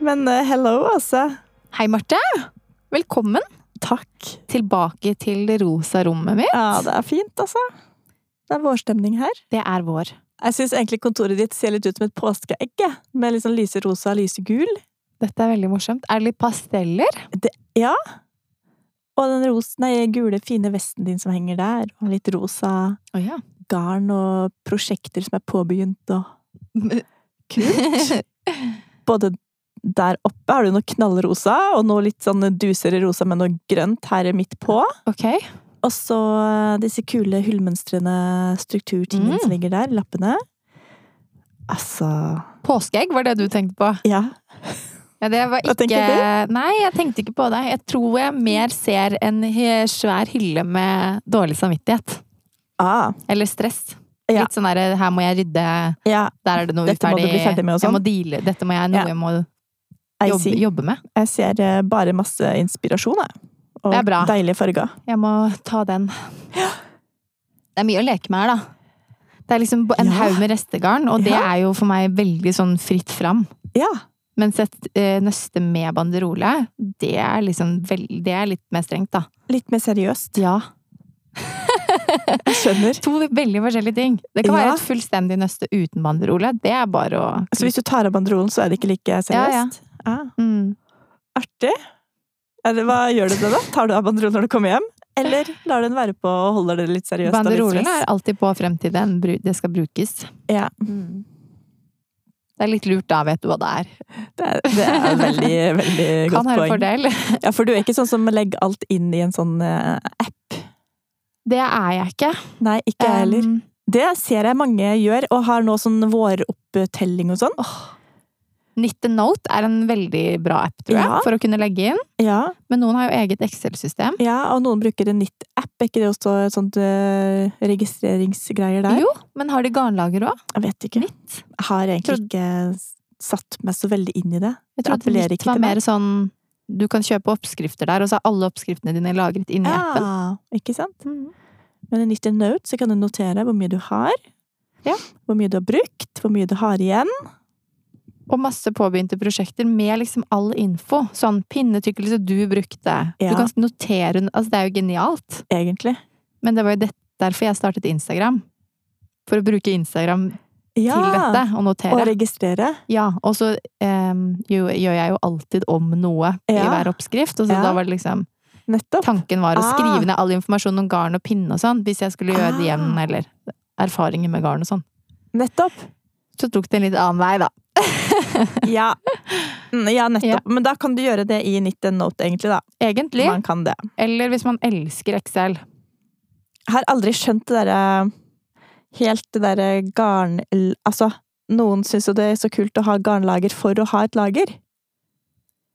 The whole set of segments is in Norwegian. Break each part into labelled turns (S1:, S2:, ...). S1: men eh, hello, altså.
S2: Hei, Marte. Velkommen
S1: Takk.
S2: tilbake til det rosa rommet mitt.
S1: Ja, det er fint, altså. Det er vårstemning her.
S2: Det er vår.
S1: Jeg syns egentlig kontoret ditt ser litt ut som et påskeegg, jeg, med litt sånn lyserosa og lysegul.
S2: Dette er veldig morsomt. Er det litt pasteller?
S1: Og den ros, nei, gule, fine vesten din som henger der, og litt rosa
S2: Å ja.
S1: garn og prosjekter som er påbegynt og kult. Både der oppe har du noe knallrosa, og noe litt sånn dusere rosa med noe grønt her midt på.
S2: ok.
S1: Og så eh, disse kule hullmønstrene, strukturtingene
S2: Mm.
S1: som ligger der, lappene. Altså
S2: Påskeegg var det du tenkte på.
S1: Ja.
S2: Ja, det var
S1: Hva
S2: ikke
S1: tenker
S2: Nei, jeg tenkte ikke på det. Jeg tror jeg mer ser en he- svær hylle med dårlig samvittighet.
S1: Ah,
S2: Eller stress.
S1: Ja.
S2: Litt sånn derre her må jeg rydde,
S1: ja,
S2: der er det noe
S1: Dette må du bli ferdig med og
S2: Jeg
S1: sånn.
S2: må deale, dette må jeg, noe
S1: Ja.
S2: jeg må
S1: I
S2: jobbe,
S1: see.
S2: jobbe med.
S1: Jeg ser eh, bare masse inspirasjon, jeg. Og
S2: Det er bra.
S1: deilige farger.
S2: Jeg må ta den. Det er mye å leke med her, da. Det er liksom en
S1: Ja.
S2: haug med restegarn, og det
S1: Ja.
S2: er jo for meg veldig sånn fritt fram.
S1: Ja.
S2: Mens et eh, nøste med banderole, det er liksom veld, det er litt mer strengt, da.
S1: Litt mer seriøst.
S2: Ja.
S1: Jeg skjønner.
S2: To veldig forskjellige ting. Det kan
S1: Ja.
S2: være et fullstendig nøste uten banderole. Det er bare å
S1: Så hvis du tar av banderolen, så er det ikke like seriøst? Ah,
S2: mm.
S1: artig. Eller hva gjør du det, da? Tar du av banderolen når du kommer hjem? Eller lar du den være på og holder det litt seriøst? og litt
S2: Banderolen
S1: stress?
S2: er alltid på frem til den bru- det skal brukes.
S1: Ja.
S2: Det er litt lurt, da vet du hva det er.
S1: Det er, det er et veldig, veldig
S2: Kan
S1: godt
S2: være
S1: poeng.
S2: en fordel.
S1: Ja, for du er ikke sånn som legger alt inn i en sånn eh, app.
S2: Det er jeg ikke.
S1: Nei, ikke jeg heller.
S2: Um,
S1: Det ser jeg mange gjør, og har nå sånn våropptelling og sånn.
S2: Knit the Note er en veldig bra app, tror jeg,
S1: Ja.
S2: for å kunne legge inn.
S1: Ja,
S2: Men noen har jo eget Excel-system.
S1: ja, og noen bruker en nytt app. Er ikke det også et sånt eh, registreringsgreier der?
S2: Jo, men har de garnlager òg?
S1: Jeg vet ikke.
S2: Nytt?
S1: Jeg har egentlig
S2: Tror-
S1: ikke s- satt meg så veldig inn i det. Det
S2: Jeg trodde
S1: appellerer
S2: nytt
S1: ikke
S2: var
S1: til meg.
S2: mer sånn Du kan kjøpe oppskrifter der, og så er alle oppskriftene dine lagret inni appen.
S1: Ja, Mm. ikke sant? Men i Nytt Note så kan du notere hvor mye du har,
S2: Ja.
S1: hvor mye du har brukt, hvor mye du har igjen.
S2: Og masse påbegynte prosjekter med liksom all info. Sånn pinnetykkelse du brukte.
S1: Ja.
S2: Du kan notere Altså, det er jo genialt.
S1: Egentlig.
S2: Men det var jo det, derfor jeg startet Instagram. For å bruke Instagram til dette og
S1: Og
S2: notere.
S1: registrere.
S2: Ja, og så em, jo, gjør jeg jo alltid om noe i
S1: Ja.
S2: hver oppskrift. Og så
S1: Ja.
S2: da var det liksom
S1: Nettopp.
S2: Tanken var å
S1: Ah.
S2: skrive ned all informasjon om garn og pinne og sånn, hvis jeg skulle gjøre det
S1: Ah.
S2: igjen, eller erfaringer med garn og sånn.
S1: Nettopp.
S2: Så tok det en litt annen vei, da.
S1: Ja, Mm, ja nettopp.
S2: Ja.
S1: Men da kan du gjøre det i Knit Note, egentlig. da.
S2: Egentlig.
S1: Man kan det.
S2: Eller hvis man elsker Excel.
S1: Jeg har aldri skjønt det derre Helt det derre garn... Altså, noen syns jo det er så kult å ha garnlager for å ha et lager.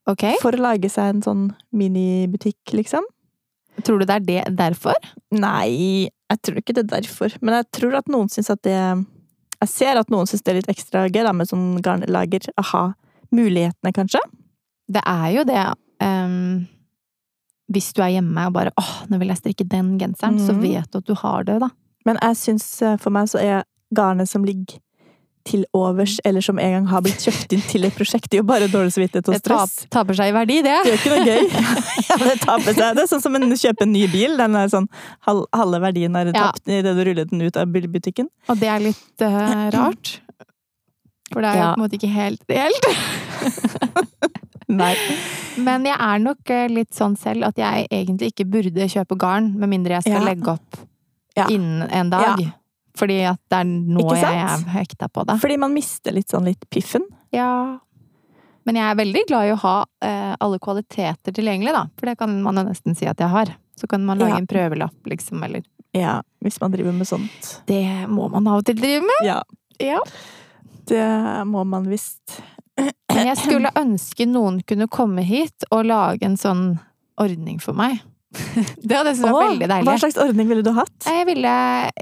S2: Ok?
S1: For å lage seg en sånn minibutikk, liksom.
S2: Tror du det er det derfor?
S1: Nei, jeg tror ikke det er derfor. Men jeg tror at noen syns at det Jeg ser at noen syns det er litt ekstra gøy da, med sånn garnlager. Aha. Mulighetene, kanskje.
S2: Det er jo det em, Hvis du er hjemme og bare 'Åh, nå vil jeg strikke den genseren', så
S1: Mhm.
S2: vet du at du har det, da.
S1: Men jeg syns eh, for meg så er garnet som ligger til overs, eller som en gang har blitt kjøpt inn til et prosjekt, det er jo bare dårlig samvittighet og
S2: Det tap,
S1: stress.
S2: taper seg i verdi, det.
S1: Det er jo ikke noe gøy. Ja, det taper seg. Det er sånn som en kjøper en ny bil. Den er sånn, hal- Halve verdien er
S2: Ja.
S1: tapt idet du ruller den ut av bilbutikken.
S2: Og det er litt eh, rart. For det er jo
S1: Ja.
S2: på en måte ikke helt reelt.
S1: Nei.
S2: Men jeg er nok eh, litt sånn selv at jeg egentlig ikke burde kjøpe garn, med mindre jeg
S1: Ja.
S2: skal legge opp
S1: Ja.
S2: innen en dag. Fordi at det er nå
S1: Ikke
S2: jeg er
S1: sant?
S2: hekta på det.
S1: Fordi man mister litt sånn litt piffen.
S2: Ja. Men jeg er veldig glad i å ha eh, alle kvaliteter tilgjengelig, da. For det kan man jo nesten si at jeg har. Så kan man lage
S1: Ja.
S2: en prøvelapp, liksom, eller
S1: Ja, hvis man driver med sånt.
S2: Det må man av og til drive med!
S1: Ja.
S2: Ja.
S1: Det må man visst.
S2: Men jeg skulle ønske noen kunne komme hit og lage en sånn ordning for meg. Det hadde jeg syntes var
S1: Åh,
S2: veldig deilig.
S1: Hva slags ordning ville du hatt?
S2: Jeg ville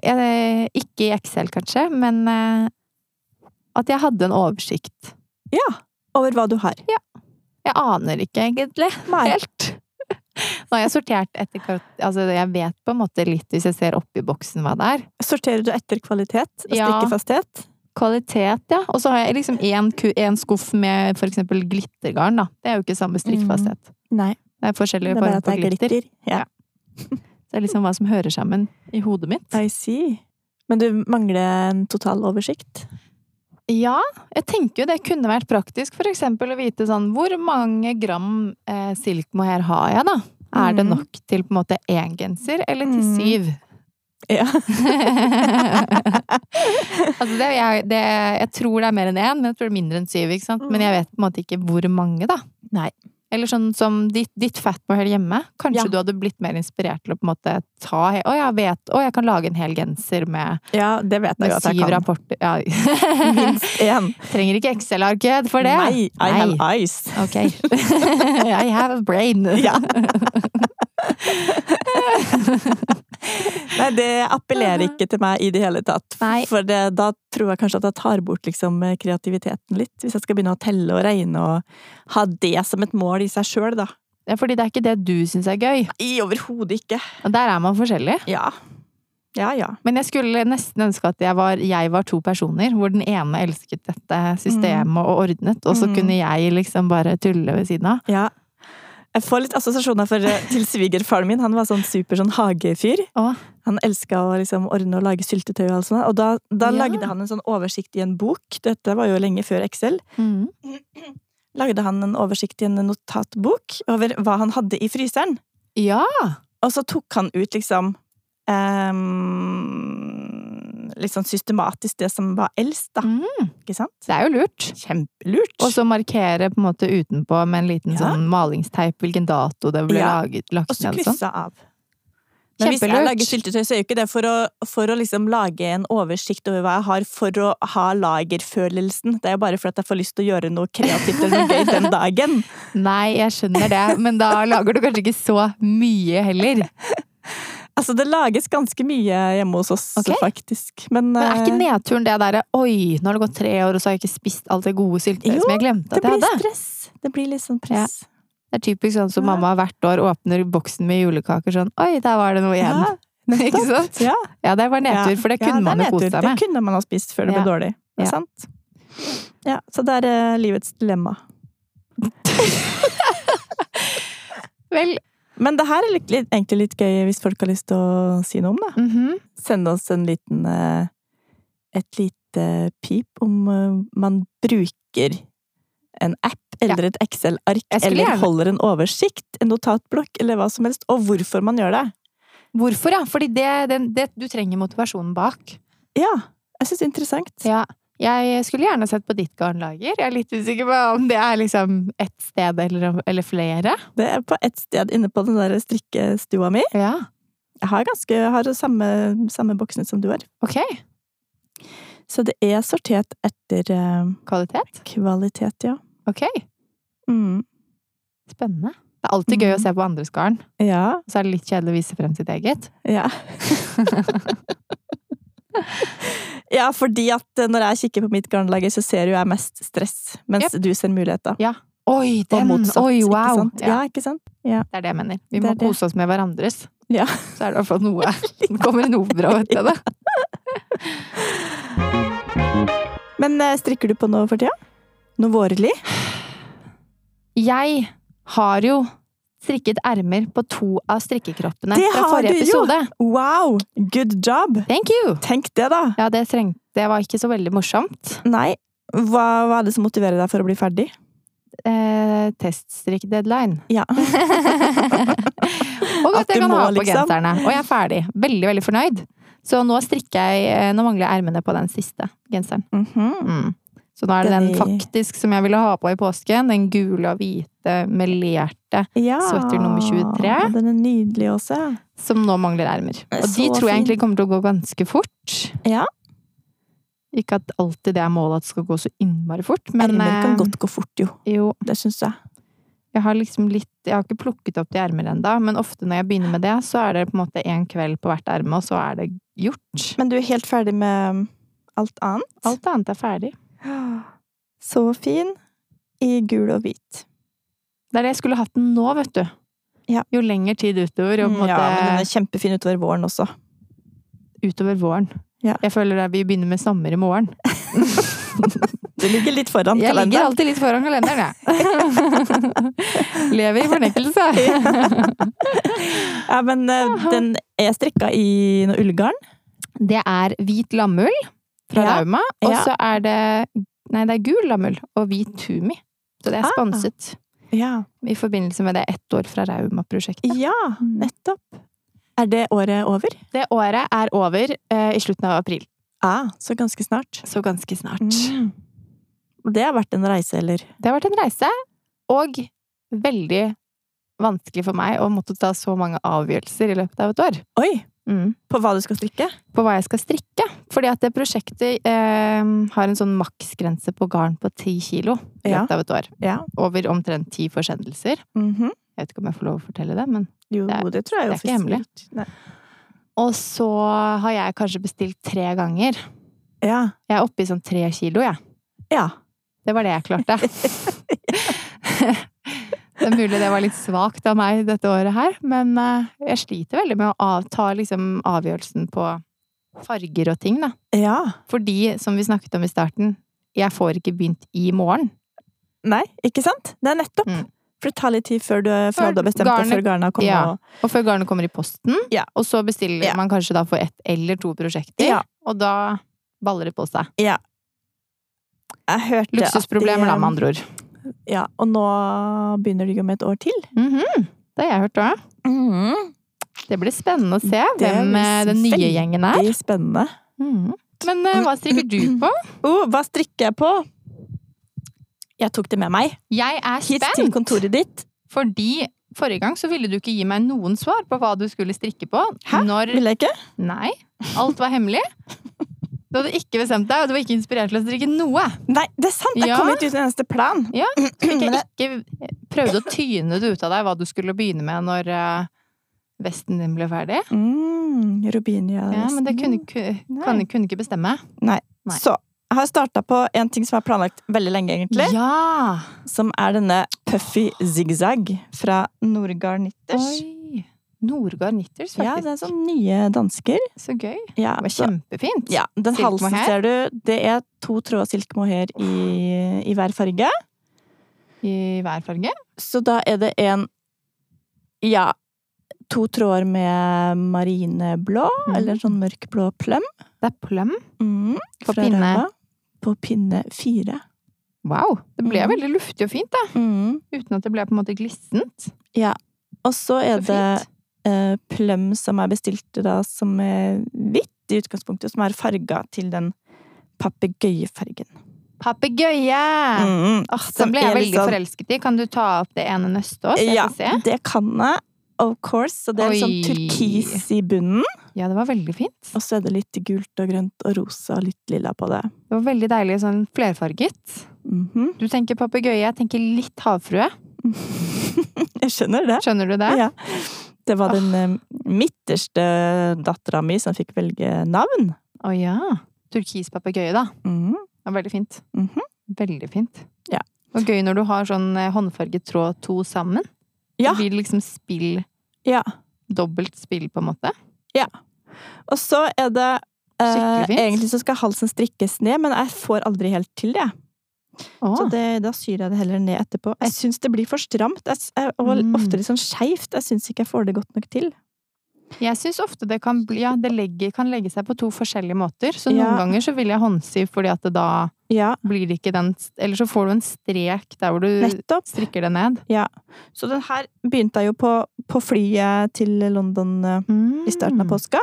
S2: eh, Ikke i Excel, kanskje, men eh, at jeg hadde en oversikt.
S1: Ja. Over hva du har.
S2: Jeg aner ikke egentlig
S1: Nei.
S2: helt. Nå har jeg sortert etter karakter... Altså, jeg vet på en måte litt hvis jeg ser oppi boksen hva det er.
S1: Sorterer du etter kvalitet og
S2: Ja.
S1: strikkefasthet?
S2: Kvalitet, ja. Og så har jeg liksom én ku- én skuff med for eksempel glittergarn, da. Det er jo ikke samme strikkfasthet.
S1: Nei,
S2: Det er forskjellige
S1: Mm. det er bare
S2: former
S1: at det
S2: for
S1: er
S2: glitter.
S1: glitter. Ja.
S2: Det er liksom hva som hører sammen i hodet mitt.
S1: I see. Men du mangler en total oversikt.
S2: Ja, jeg tenker jo det kunne vært praktisk for eksempel å vite sånn Hvor mange gram eh, silkmohair har jeg, da? Er det
S1: Mhm.
S2: nok til på en måte én genser, eller til
S1: Mhm.
S2: syv?
S1: Ja.
S2: altså det, jeg, det, jeg tror det er mer enn én, men jeg tror det er mindre enn syv. Ikke sant? Men jeg vet på en måte ikke hvor mange, da.
S1: Mm. Nei.
S2: Eller sånn som ditt, ditt fatmohair hjemme. Kanskje
S1: Ja.
S2: du hadde blitt mer inspirert til å på en måte ta he- Å, jeg vet Å, jeg kan lage en hel genser med,
S1: ja, det vet jeg
S2: med
S1: jo at
S2: syv
S1: jeg kan.
S2: rapporter. Ja.
S1: Minst én.
S2: Trenger ikke Excel-arket for det.
S1: Nei, I have eyes.
S2: Ok. I have a brain.
S1: Ja. Nei, det appellerer ikke til meg i det hele tatt.
S2: Nei.
S1: For det, da tror jeg kanskje at jeg tar bort liksom, kreativiteten litt. Hvis jeg skal begynne å telle og regne og ha det som et mål i seg sjøl, da.
S2: Ja, Fordi det er ikke det du syns er gøy.
S1: I overhodet ikke.
S2: Og der er man forskjellig.
S1: Ja. Ja, ja.
S2: Men jeg skulle nesten ønske at jeg var, jeg var to personer, hvor den ene elsket dette systemet og ordnet, og så
S1: Mm.
S2: kunne jeg liksom bare tulle ved siden av.
S1: ja. Jeg får litt assosiasjoner for, eh, til svigerfaren min. Han var sånn super sånn hagefyr.
S2: Å.
S1: Han elska å liksom ordne og lage syltetøy og alt sånt. Og da, da
S2: Ja.
S1: lagde han en sånn oversikt i en bok. Dette var jo lenge før Excel. Lagde han en oversikt i en notatbok over hva han hadde i fryseren.
S2: Ja!
S1: Og så tok han ut liksom ehm, Litt sånn systematisk det som var eldst, da.
S2: Mm.
S1: Ikke sant?
S2: Det er jo lurt.
S1: Kjempelurt.
S2: Og så markere på en måte utenpå med en liten
S1: Ja.
S2: sånn malingsteip hvilken dato det ble
S1: Ja.
S2: laget, lagt
S1: Og så
S2: ned og sånn.
S1: kryssa av. Men hvis jeg
S2: Kjempelurt.
S1: lager syltetøy, så er jo ikke det for å, for å liksom lage en oversikt over hva jeg har, for å ha lagerfølelsen. Det er jo bare for at jeg får lyst til å gjøre noe kreativt eller noe gøy den dagen.
S2: Nei, jeg skjønner det, men da lager du kanskje ikke så mye heller.
S1: Altså, det lages ganske mye hjemme hos oss,
S2: Ok.
S1: faktisk. Men,
S2: Men er
S1: eh,
S2: ikke nedturen det derre oi, nå har det gått tre år, og så har jeg ikke spist alt det gode syltetøyet
S1: Jo,
S2: som jeg glemte
S1: det
S2: at jeg
S1: blir
S2: hadde?
S1: stress. Det blir litt sånn press.
S2: Det er typisk sånn som
S1: Ja.
S2: mamma hvert år åpner boksen med julekaker sånn Oi, der var det noe igjen.
S1: Ja,
S2: Ikke sant?
S1: Ja.
S2: Ja, det var nedtur, for det
S1: Ja,
S2: kunne
S1: er
S2: man jo kose
S1: nedtur.
S2: seg med.
S1: Det kunne man ha spist før det ble
S2: Ja.
S1: dårlig. Det er
S2: Ja.
S1: sant. Ja, så det er eh, livets dilemma.
S2: Vel,
S1: Men det her er litt, litt, egentlig litt gøy hvis folk har lyst til å si noe om det.
S2: mhm.
S1: Send oss en liten eh, et lite pip om eh, man bruker en app eller et Excel-ark
S2: Jeg skulle
S1: eller
S2: gjerne-
S1: holder en oversikt, en notatblokk eller hva som helst, og hvorfor man gjør det.
S2: Hvorfor, ja? Fordi det, den, det, du trenger motivasjonen bak.
S1: Ja, jeg syns det er interessant.
S2: Ja. Jeg skulle gjerne sett på ditt garnlager. Jeg er litt usikker på om det er liksom ett sted eller, om- eller flere.
S1: Det er på ett sted inne på den der strikkestua mi.
S2: Ja.
S1: Jeg har ganske, jeg har samme, samme boksene som du har.
S2: Ok.
S1: Så det er sortert etter eh,
S2: Kvalitet.
S1: kvalitet, ja.
S2: Ok.
S1: Mm.
S2: Spennende. Det er alltid
S1: Mhm.
S2: gøy å se på andres garn,
S1: Ja,
S2: og så er det litt kjedelig å vise frem sitt eget.
S1: ja. ja, fordi at eh, når jeg kikker på mitt garnlager, så ser jo jeg mest stress, mens du ser muligheter.
S2: Oi,
S1: Og
S2: den!
S1: motsatt,
S2: Oi,
S1: ikke
S2: wow!
S1: sant? Ja, ikke sant?
S2: Det er det jeg mener. Vi
S1: Det
S2: må
S1: er det.
S2: kose oss med hverandres.
S1: Ja.
S2: Så er det i hvert fall noe. Det kommer noe bra ut av det.
S1: Men eh, strikker du på noe for tida? Noe vårlig?
S2: Jeg har jo strikket ermer på to av strikkekroppene
S1: Det
S2: fra
S1: har
S2: forrige
S1: du jo!
S2: episode.
S1: Wow! Good job!
S2: Thank you!
S1: Tenk det, da!
S2: Ja, det, trengte, det var ikke så veldig morsomt.
S1: Nei, hva, hva er det som motiverer deg for å bli ferdig?
S2: Eh, Teststrikk-deadline.
S1: Ja.
S2: Og
S1: At
S2: at jeg
S1: du
S2: kan
S1: må,
S2: ha på
S1: liksom.
S2: genserne. Og jeg er ferdig. Veldig, veldig fornøyd. Så nå strikker jeg eh, Nå mangler jeg ermene på den siste genseren.
S1: Mhm.
S2: Mm. Så nå er det den
S1: Den i-
S2: faktisk som jeg ville ha på i påsken. Den gule og hvite melerte,
S1: Ja.
S2: Sweater nummer 23.
S1: Den er nydelig også.
S2: som nå mangler ermer. Og
S1: Så
S2: de tror jeg
S1: fin.
S2: egentlig kommer til å gå ganske fort.
S1: Ja.
S2: Ikke at alltid det er målet at det skal gå så innmari fort, men
S1: Ermer kan
S2: eh,
S1: godt gå fort, jo.
S2: jo,
S1: Det syns jeg.
S2: jeg har liksom litt Jeg har ikke plukket opp de ermer ennå, men ofte når jeg begynner med det, så er det på en måte én kveld på hvert erme, og så er det gjort.
S1: Men du er helt ferdig med mm, alt annet.
S2: Alt annet er ferdig.
S1: Så fin i gul og hvit.
S2: Det er det jeg skulle hatt den nå, vet du.
S1: Ja.
S2: Jo lenger tid utover, jo på en
S1: Ja,
S2: måte
S1: men den er kjempefin utover våren også.
S2: utover våren.
S1: Ja.
S2: Jeg føler at vi begynner med sommer i morgen.
S1: Du ligger litt foran
S2: Jeg ligger
S1: kalenderen.
S2: alltid litt foran kalenderen, jeg. Lever i fornektelse.
S1: Ja, men eh, den er strikka i noe ullgarn.
S2: Det er hvit lammull fra
S1: Ja.
S2: Rauma, og
S1: Ja.
S2: så er det Nei, det er gul lammull og hvit tumi. Så det er
S1: Ah.
S2: sponset
S1: Ja.
S2: i forbindelse med det ett år fra Rauma-prosjektet.
S1: ja, nettopp. Er det året over?
S2: Det året er over eh, i slutten av april.
S1: Ja, så ganske snart.
S2: Så ganske snart.
S1: Mm. Og Det har vært en reise, eller?
S2: Det har vært en reise, og veldig vanskelig for meg å måtte ta så mange avgjørelser i løpet av et år.
S1: Oi! På hva du skal strikke?
S2: Mm. På hva jeg skal strikke. Fordi at det prosjektet eh, har en sånn maksgrense på garn på ti kilo i
S1: Ja.
S2: løpet av et år.
S1: Ja.
S2: Over omtrent ti forsendelser. Jeg vet ikke om jeg får lov å fortelle det, men
S1: Jo,
S2: Mhm. Det
S1: det, tror jeg
S2: det er ikke hemmelig.
S1: offisielt. Nei.
S2: Og så har jeg kanskje bestilt tre ganger.
S1: Ja.
S2: Jeg er oppe i sånn tre kilo, jeg.
S1: ja.
S2: Det var det jeg klarte. det er mulig det var litt svakt av meg dette året her, men eh, jeg sliter veldig med å av- ta liksom avgjørelsen på farger og ting, da.
S1: Ja.
S2: Fordi, som vi snakket om i starten, jeg får ikke begynt i morgen.
S1: Nei, ikke sant? Det er nettopp.
S2: Mm.
S1: For det tar litt tid før du, før
S2: Før
S1: du har bestemt deg
S2: garnet-
S1: for garnet har kommet.
S2: Ja.
S1: og-
S2: Og før garnet kommer i posten,
S1: Ja.
S2: og så bestiller
S1: Ja.
S2: man kanskje da for ett eller to prosjekter,
S1: Ja.
S2: og da baller det på seg.
S1: Jeg hørte
S2: Luksusproblemer,
S1: at
S2: da,
S1: de,
S2: med andre ord.
S1: Ja, og nå begynner de jo med et år til.
S2: Mhm. Det har jeg hørt òg. Mm-hmm. Det blir spennende å se
S1: Det
S2: hvem eh, den nye
S1: veldig-
S2: gjengen er.
S1: Det er spennende.
S2: Mhm. Men eh, hva strikker du på?
S1: Oh, hva strikker jeg på? Jeg tok det med meg
S2: Jeg er
S1: hit til
S2: spent,
S1: kontoret ditt.
S2: fordi forrige gang så ville du ikke gi meg noen svar på hva du skulle strikke på.
S1: Hæ?
S2: Når
S1: Vil jeg ikke?
S2: Nei. Alt var hemmelig. Du hadde ikke bestemt deg, og du var ikke inspirert til å strikke noe.
S1: Nei, det er sant! Jeg
S2: Ja.
S1: kom ikke ut en eneste plan.
S2: Ja, Fikk
S1: Men
S2: jeg
S1: det,
S2: ikke prøvde å tyne det ut av deg hva du skulle begynne med når eh, vesten din ble ferdig.
S1: mm, Rubinia
S2: Ja, men det kunne,
S1: nesten.
S2: ku-
S1: Nei.
S2: kan, kunne ikke bestemme. Nei.
S1: Så jeg har starta på en ting som er planlagt veldig lenge, egentlig.
S2: Ja!
S1: Som er denne Puffy Zigzag fra Nordgard Nitters.
S2: Oi! Nordgard Knitters, faktisk.
S1: Ja, det er sånn nye dansker.
S2: Så gøy. Det
S1: Ja,
S2: var
S1: så-
S2: kjempefint.
S1: Ja, den
S2: Silk
S1: halsen
S2: mohair?
S1: ser du, det er to tråder silk mohair i, i hver farge.
S2: I hver farge.
S1: Så da er det en Ja, to tråder med marineblå,
S2: Mm.
S1: eller sånn mørkblå pløm.
S2: Det er pløm.
S1: Mm,
S2: På
S1: fra
S2: pinne.
S1: Rauma. På pinne fire.
S2: Wow! Det ble
S1: Mm.
S2: veldig luftig og fint, da.
S1: Mm.
S2: Uten at det ble på en måte glissent.
S1: Og så
S2: Så
S1: er det
S2: fint.
S1: eh, pløm som er bestilt da, som er hvitt i utgangspunktet, som er farga til den papegøyefargen.
S2: Papegøye!
S1: Mm.
S2: Åh,
S1: Som
S2: Ah, den ble jeg
S1: er litt
S2: veldig
S1: sånn-
S2: forelsket i. Kan du ta opp det ene nøstet òg, så jeg
S1: Ja,
S2: får se?
S1: det kan jeg, of course. Så det er litt sånn
S2: Oi.
S1: turkis i bunnen.
S2: Ja, det var veldig fint.
S1: Og så er det litt gult og grønt og rosa og litt lilla på det.
S2: Det var veldig deilig sånn flerfarget.
S1: Mhm.
S2: Du tenker papegøye, jeg tenker litt havfrue.
S1: Jeg skjønner det.
S2: Skjønner du det?
S1: Ja. Det var
S2: Ah.
S1: den eh, midterste dattera mi som fikk velge navn.
S2: Å ja. Turkis papegøye, da.
S1: Mhm.
S2: Det var veldig fint.
S1: Mhm.
S2: Veldig fint.
S1: Ja.
S2: Og gøy når du har sånn eh, håndfarget tråd to sammen.
S1: Ja.
S2: Det blir liksom spill,
S1: Ja.
S2: dobbelt spill, på en måte.
S1: Og så er det eh,
S2: Skikkelig fint.
S1: Egentlig så skal halsen strikkes ned, men jeg får aldri helt til det.
S2: Å,
S1: Så det, da syr jeg det heller ned etterpå. Jeg syns det blir for stramt, jeg, s- jeg, og
S2: Mm.
S1: ofte litt sånn skeivt. Jeg syns ikke jeg får det godt nok til.
S2: Jeg syns ofte det kan bli Ja, det legger, kan legge seg på to forskjellige måter. Så
S1: Ja.
S2: noen ganger så vil jeg håndsy fordi at det da
S1: Ja,
S2: blir det ikke den Eller så får du en strek der hvor du
S1: nettopp.
S2: strikker det ned.
S1: Så den her begynte jeg jo på, på flyet til London. eh, i starten
S2: Mm.
S1: av påska.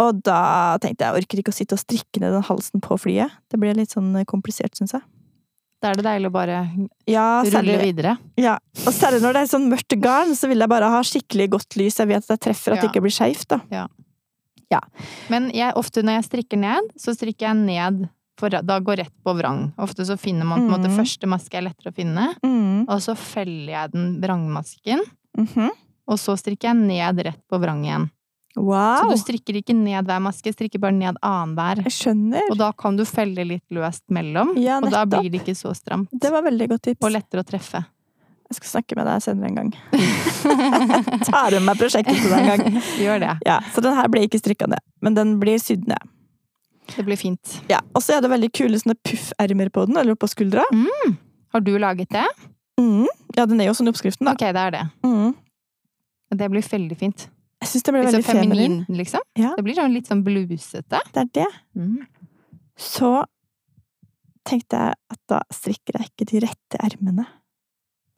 S1: Og da tenkte jeg jeg orker ikke å sitte og strikke ned den halsen på flyet. Det ble litt sånn komplisert, syns jeg.
S2: Da er det deilig å bare
S1: Ja,
S2: rulle
S1: særlig,
S2: videre.
S1: ja. Og særlig når det er sånn mørkt garn, så vil jeg bare ha skikkelig godt lys. Jeg vet at jeg treffer at det
S2: Ja.
S1: ikke blir skeivt, da.
S2: Men jeg, ofte når jeg strikker ned, så strikker jeg ned for da går rett på vrang. Ofte så finner man på en måte
S1: Mhm.
S2: første maske er lettere å finne,
S1: Mm.
S2: og så feller jeg den vrangmasken,
S1: Mhm.
S2: og så strikker jeg ned rett på vrang igjen. Så
S1: Wow!
S2: du strikker ikke ned hver maske, strikker bare ned annenhver.
S1: Jeg skjønner.
S2: Og da kan du felle litt løst mellom,
S1: Ja,
S2: og da
S1: nettopp.
S2: blir det ikke så stramt.
S1: Det var veldig godt tips.
S2: Og lettere å treffe.
S1: Jeg skal snakke med deg senere en gang. Tar med meg prosjektet til deg en gang.
S2: Gjør det.
S1: Ja, så den her ble ikke strikka ned, men den blir sydd ned.
S2: Det blir fint.
S1: Ja, og så er det veldig kule sånne puffermer på den, eller på skuldra.
S2: Har du laget det?
S1: Mm. Ja, den er jo sånn i oppskriften, da.
S2: Ok, det er det.
S1: Mm.
S2: Det blir veldig fint.
S1: Jeg syns den ble
S2: Litt sånn
S1: veldig feminin.
S2: feminin, liksom.
S1: Ja. Mm.
S2: Det blir sånn litt sånn blusete.
S1: Det er det. Så tenkte jeg at da strikker jeg ikke de rette ermene.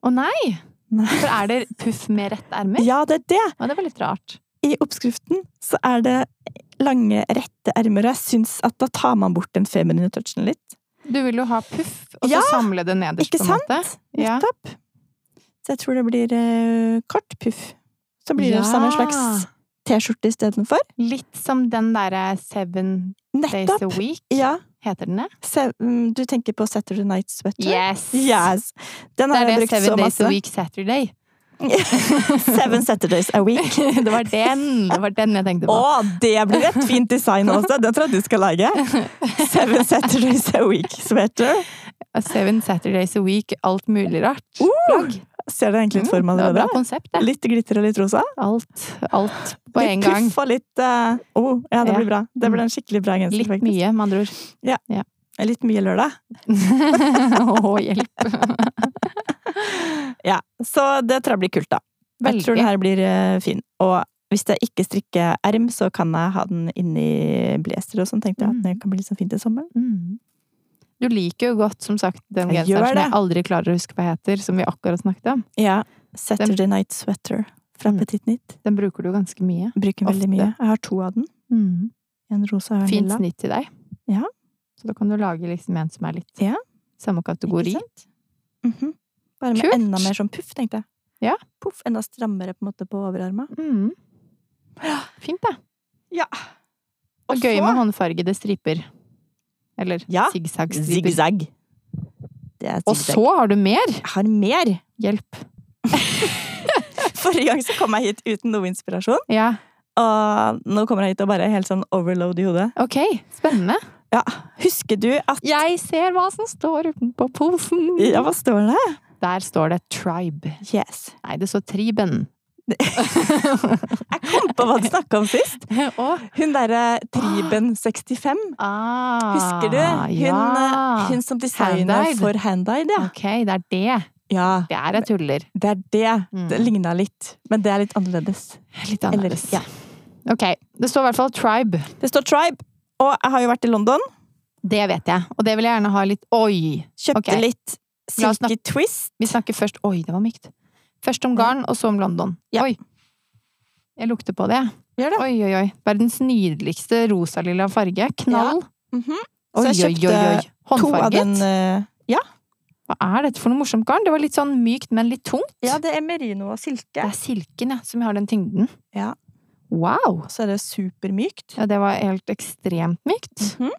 S2: Å nei!
S1: Nei.
S2: For er det puff med rette ermer?
S1: Ja, det er det!
S2: Å, det var litt rart.
S1: I oppskriften så er det lange, rette ermer, og jeg syns at da tar man bort den feminine touchen litt.
S2: Du vil jo ha puff, og så
S1: Ja,
S2: samle det nederst,
S1: ikke
S2: på en
S1: sant?
S2: måte. Ja.
S1: Nettopp! Så jeg tror det blir eh, kort puff. Så blir det
S2: Ja.
S1: samme slags T-skjorte istedenfor.
S2: Litt som den derre Seven Days
S1: Nettopp!
S2: a Week,
S1: Ja.
S2: heter den det?
S1: Se, mm, du tenker på Saturday Night Sweater?
S2: Yes!
S1: Yes. Den har
S2: Det er
S1: jeg
S2: det
S1: brukt så
S2: Seven Days
S1: masse.
S2: a Week Saturday.
S1: Seven Saturdays a week.
S2: det var den! Det var den jeg tenkte
S1: Å,
S2: på.
S1: det blir et fint design også! Den tror jeg du skal lage. Seven Saturdays a week sweater.
S2: Seven Saturdays a Week, alt mulig rart.
S1: Uh,
S2: Plagg.
S1: ser du egentlig litt for meg
S2: Mm, det var bra
S1: allerede?
S2: konsept, det.
S1: Litt glitter og litt rosa.
S2: Alt, alt på en
S1: litt
S2: gang.
S1: puff og litt eh, oh, Ja, det
S2: Ja.
S1: blir bra. Det blir en skikkelig bra genser,
S2: Litt
S1: altså, faktisk.
S2: mye, med andre ord.
S1: Litt mye lørdag.
S2: Å, hjelp.
S1: Ja, Så det tror jeg blir kult, da. Jeg tror
S2: Veldig.
S1: den her blir eh, fin. Og hvis jeg ikke strikker erm, så kan jeg ha den inni blazer og sånn, tenkte jeg. At det kan bli litt sånn fint til sommeren.
S2: Mm. Du liker jo godt, som sagt, den
S1: Jeg gjør
S2: genseren som
S1: det.
S2: jeg aldri klarer å huske hva heter, som vi akkurat snakket om.
S1: Ja. Saturday Night Sweater fra
S2: Mm.
S1: Petit Nytt.
S2: Den bruker du ganske mye.
S1: Bruker
S2: Ofte.
S1: veldig mye. Jeg har to av den.
S2: Mm.
S1: En rosa og en
S2: Fint
S1: lilla.
S2: snitt til deg.
S1: Ja.
S2: Så da kan du lage liksom en som er litt
S1: Ja.
S2: samme kategori.
S1: Ikke sant? Mhm. Bare med
S2: Kult.
S1: enda mer sånn puff, tenkte jeg.
S2: Ja.
S1: Puff, enda strammere på en måte på overarma.
S2: Mm. Fint, da.
S1: Ja.
S2: Og gøy med håndfargede striper. Eller
S1: Ja.
S2: zigzag-striper.
S1: Zigzag. Det er
S2: Og
S1: zigzag.
S2: så har du mer!
S1: Jeg har mer!
S2: Hjelp.
S1: Forrige gang så kom jeg hit uten noe inspirasjon,
S2: Ja,
S1: og nå kommer jeg hit og bare helt sånn overload i hodet.
S2: ok. Spennende.
S1: Husker du at
S2: Jeg ser hva som står utenpå posen.
S1: Ja, hva står det?
S2: Der står det tribe.
S1: Yes.
S2: Nei, det står triben.
S1: Jeg kom på hva du snakka om sist.
S2: Å,
S1: Hun derre Triben65.
S2: ah,
S1: Husker du? Hun,
S2: ja.
S1: eh, hun som designa
S2: Handdyed.
S1: for Handdyed, ja.
S2: Ok, det er det.
S1: ja.
S2: Det er jeg tuller.
S1: Det er det.
S2: Mm.
S1: Det ligna litt, men det er litt annerledes.
S2: Litt
S1: Eller-
S2: annerledes.
S1: ja.
S2: Ok, det står i hvert fall tribe.
S1: Det står Tribe, og jeg har jo vært i London.
S2: Det vet jeg. Og det vil jeg gjerne ha litt Oi!
S1: Kjøpte
S2: Ok.
S1: litt
S2: La oss
S1: Silky Twist.
S2: Vi snakker først Oi, det var mykt. Først om garn, og så om London.
S1: Ja.
S2: Oi! Jeg lukter på det.
S1: Gjør
S2: Oi, oi, oi. Verdens nydeligste rosalilla farge. Knall.
S1: Så jeg
S2: Oi, oi, oi,
S1: kjøpte
S2: oi.
S1: to av
S2: Håndfarget.
S1: den eh,
S2: Hva er dette for noe morsomt garn? Det var litt sånn mykt, men litt tungt.
S1: Ja, det er merino og
S2: Det
S1: silke.
S2: er silken ja, som har den tyngden.
S1: Ja.
S2: Wow!
S1: Og så er det supermykt.
S2: Ja, det var helt ekstremt mykt.
S1: Mhm.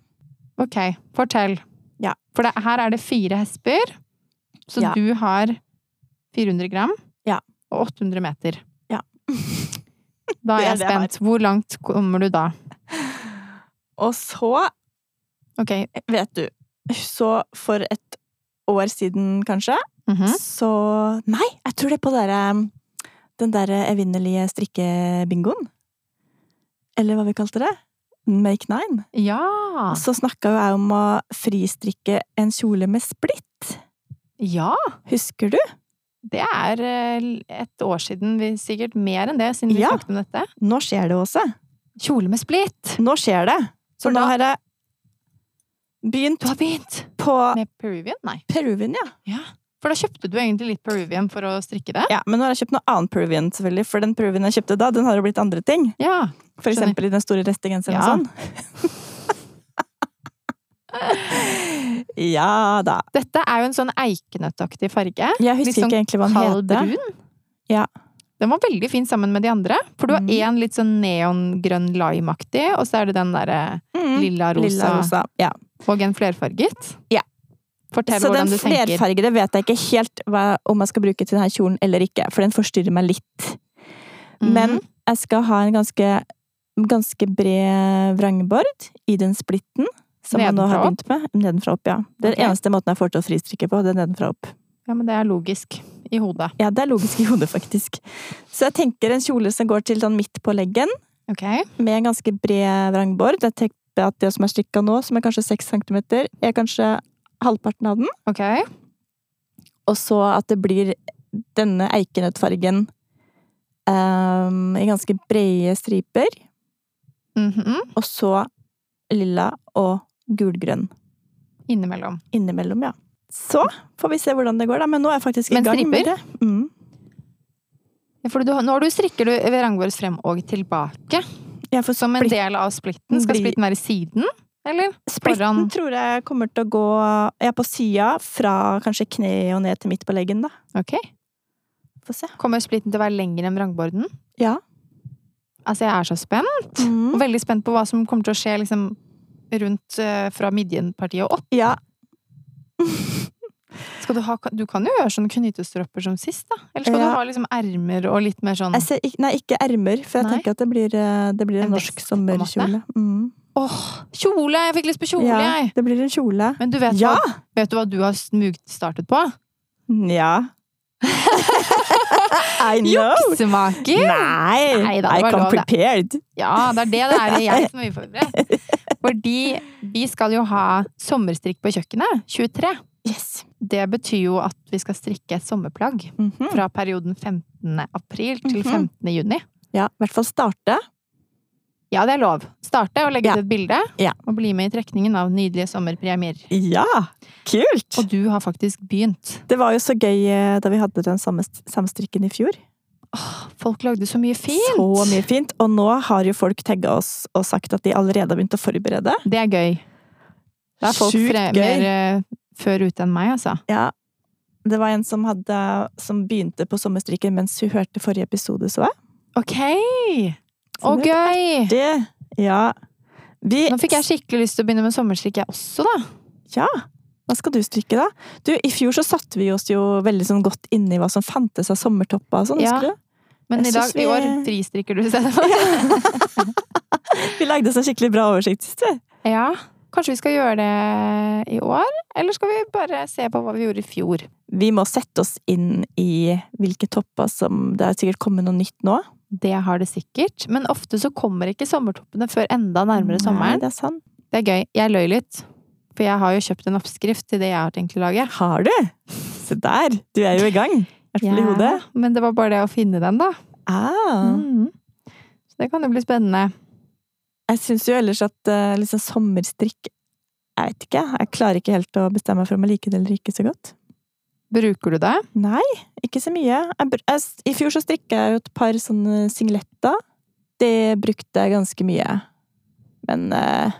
S2: Ok, fortell.
S1: Ja.
S2: For det, her er det fire hesper, så
S1: Ja.
S2: du har 400 gram
S1: Ja.
S2: og 800 meter.
S1: Ja.
S2: Da
S1: Det
S2: er
S1: er det
S2: jeg
S1: jeg har.
S2: spent. Hvor langt kommer du da?
S1: Og så,
S2: Ok.
S1: vet du Så for et år siden, kanskje,
S2: mhm.
S1: så Nei, jeg tror det er på dere, den derre evinnelige strikkebingoen. Eller hva vi kalte det. Make nine.
S2: Ja!
S1: Så snakka jo jeg om å fristrikke en kjole med splitt.
S2: Ja!
S1: Husker du?
S2: Det er eh, et år siden, vi, sikkert mer enn det, siden vi
S1: Ja.
S2: snakket om dette.
S1: Nå skjer det, Åse.
S2: Kjole med splitt!
S1: Nå skjer det. Så
S2: For
S1: nå
S2: da-
S1: har jeg begynt
S2: Du har begynt!
S1: på
S2: Med Peruvian? Nei.
S1: Peruvian, ja.
S2: For da kjøpte du egentlig litt Peruvian for å strikke det?
S1: ja. Men nå har jeg kjøpt noe annen Peruvian, selvfølgelig. For den Peruvian jeg kjøpte da, den har jo blitt andre ting.
S2: Ja.
S1: For
S2: Skjønner.
S1: eksempel i den store restegenseren
S2: Ja.
S1: og sånn. ja da.
S2: Dette er jo en sånn eikenøttaktig farge.
S1: Jeg husker
S2: Litt sånn
S1: ikke egentlig hva den
S2: Kald
S1: heter.
S2: brun.
S1: Ja.
S2: Den var veldig fin sammen med de andre. For du har
S1: Mm.
S2: én litt sånn neongrønn limeaktig, og så er det den derre
S1: Mm.
S2: lilla-rosa
S1: Lilla rosa. Ja.
S2: og en flerfarget.
S1: Ja.
S2: Fortell
S1: Så den
S2: hvordan du tenker.
S1: flerfargede vet jeg ikke helt hva, om jeg skal bruke til denne kjolen eller ikke, for den forstyrrer meg litt. Men
S2: Mhm.
S1: jeg skal ha en ganske, ganske bred vrangbord i den splitten. Som jeg nå har
S2: Nedenfra
S1: begynt med. Nedenfra opp, ja. Det er
S2: Ok.
S1: den eneste måten jeg får til å fristrikke på. det er nedenfra opp.
S2: Ja, men det er logisk. i hodet.
S1: Ja, det er logisk i hodet, faktisk. Så jeg tenker en kjole som går til sånn midt på leggen,
S2: Ok.
S1: med en ganske bred vrangbord. Jeg tenker at det som er strikka nå, som er kanskje 6 cm, er kanskje halvparten av den.
S2: Ok.
S1: Og så at det blir denne eikenøttfargen ehm, i ganske brede striper.
S2: Mhm.
S1: Og så lilla og gulgrønn
S2: Innimellom.
S1: innimellom, ja. Så får vi se hvordan det går, da. Men nå er jeg faktisk i
S2: Men
S1: gang med det.
S2: striper?
S1: Mm.
S2: Ja, For du, har- nå har du, strikker du vrangbord frem og tilbake.
S1: Jeg får
S2: Som en
S1: splitt-
S2: del av splitten. Skal
S1: Bli-
S2: splitten være i siden? Eller?
S1: Splitten
S2: foran-
S1: tror jeg kommer til å gå ja, på sida, fra kanskje kne og ned til midt på leggen, da.
S2: Ok.
S1: Få se.
S2: Kommer splitten til å være lengre enn vrangborden?
S1: Ja.
S2: Altså, jeg er så spent. Og
S1: Mm.
S2: veldig spent på hva som kommer til å skje liksom, rundt eh, fra midjenpartiet og opp.
S1: Ja.
S2: Skal du, ha, du kan jo gjøre sånne knytestropper som sist, da. Eller skal
S1: Ja.
S2: du ha liksom ermer og litt mer sånn
S1: Jeg ser, ikk- nei, ikke ermer, for jeg
S2: Nei.
S1: tenker at det blir, eh, det blir en,
S2: En
S1: norsk
S2: vest, på en måte.
S1: sommerkjole. Mm.
S2: Åh, kjole! Jeg fikk lyst på kjole,
S1: Ja,
S2: jeg!
S1: det blir en kjole.
S2: Men du vet,
S1: Ja!
S2: hva, vet du hva du har smugstartet på?
S1: Nja. I know!
S2: Juksemaker!
S1: Nei!
S2: Nei da, det
S1: I
S2: var
S1: come
S2: lov, det.
S1: prepared.
S2: Ja, det er det det er. Det er jeg som er uforberedt. Fordi vi skal jo ha sommerstrikk på kjøkkenet. 23.
S1: Yes.
S2: Det betyr jo at vi skal strikke et sommerplagg
S1: Mhm.
S2: fra perioden 15. april til
S1: Mhm.
S2: 15. juni.
S1: Ja, i hvert fall starte.
S2: Ja, det er lov. Starte og legge
S1: Ja.
S2: ut et bilde.
S1: Ja.
S2: Og bli med i trekningen av nydelige sommerpremier.
S1: Ja! Kult!
S2: Og du har faktisk begynt.
S1: Det var jo så gøy eh, da vi hadde den samme samstrikken i fjor.
S2: Folk lagde så mye fint!
S1: Så mye fint. Og nå har jo folk tagga oss og sagt at de allerede har begynt å forberede.
S2: Det er gøy. Da er folk
S1: Sjukt
S2: fre-
S1: gøy.
S2: mer eh, før ute enn meg, altså.
S1: Ja. Det var en som, hadde, som begynte på sommerstrikken mens hun hørte forrige episode, så jeg.
S2: Ok!
S1: Så
S2: Og
S1: det er
S2: gøy!
S1: Det, ja. Vi,
S2: Nå fikk jeg skikkelig lyst til å begynne med sommerstrikk, jeg også, da.
S1: Ja. Hva skal du strikke, da? Du, I fjor så satte vi oss jo veldig sånn godt inn i hva som fantes av sommertopper og sånn,
S2: Ja.
S1: husker du?
S2: Men
S1: Jeg
S2: i dag,
S1: synes vi-
S2: i år, fristrikker du i stedet for.
S1: Vi lagde oss en skikkelig bra oversikt sist, vi.
S2: Ja. Kanskje vi skal gjøre det i år? Eller skal vi bare se på hva vi gjorde i fjor?
S1: Vi må sette oss inn i hvilke topper som Det er sikkert kommet noe nytt nå.
S2: Det har det sikkert. Men ofte så kommer ikke sommertoppene før enda nærmere
S1: Nei,
S2: sommeren.
S1: det er sant.
S2: Det er gøy. Jeg løy litt. For jeg har jo kjøpt en oppskrift til det jeg har tenkt å lage.
S1: Har du? Se der! Du er jo i gang. I hvert fall i
S2: Ja,
S1: hodet.
S2: Men det var bare det å finne den, da.
S1: Ah.
S2: Mhm. Så det kan jo bli spennende.
S1: Jeg syns jo ellers at eh, liksom sommerstrikk Jeg vet ikke. Jeg klarer ikke helt å bestemme meg for om jeg liker det eller ikke så godt.
S2: Bruker du det?
S1: Nei, ikke så mye. Jeg, br- jeg, s- I fjor så strikka jeg jo et par sånne singletter. Det brukte jeg ganske mye. Men eh,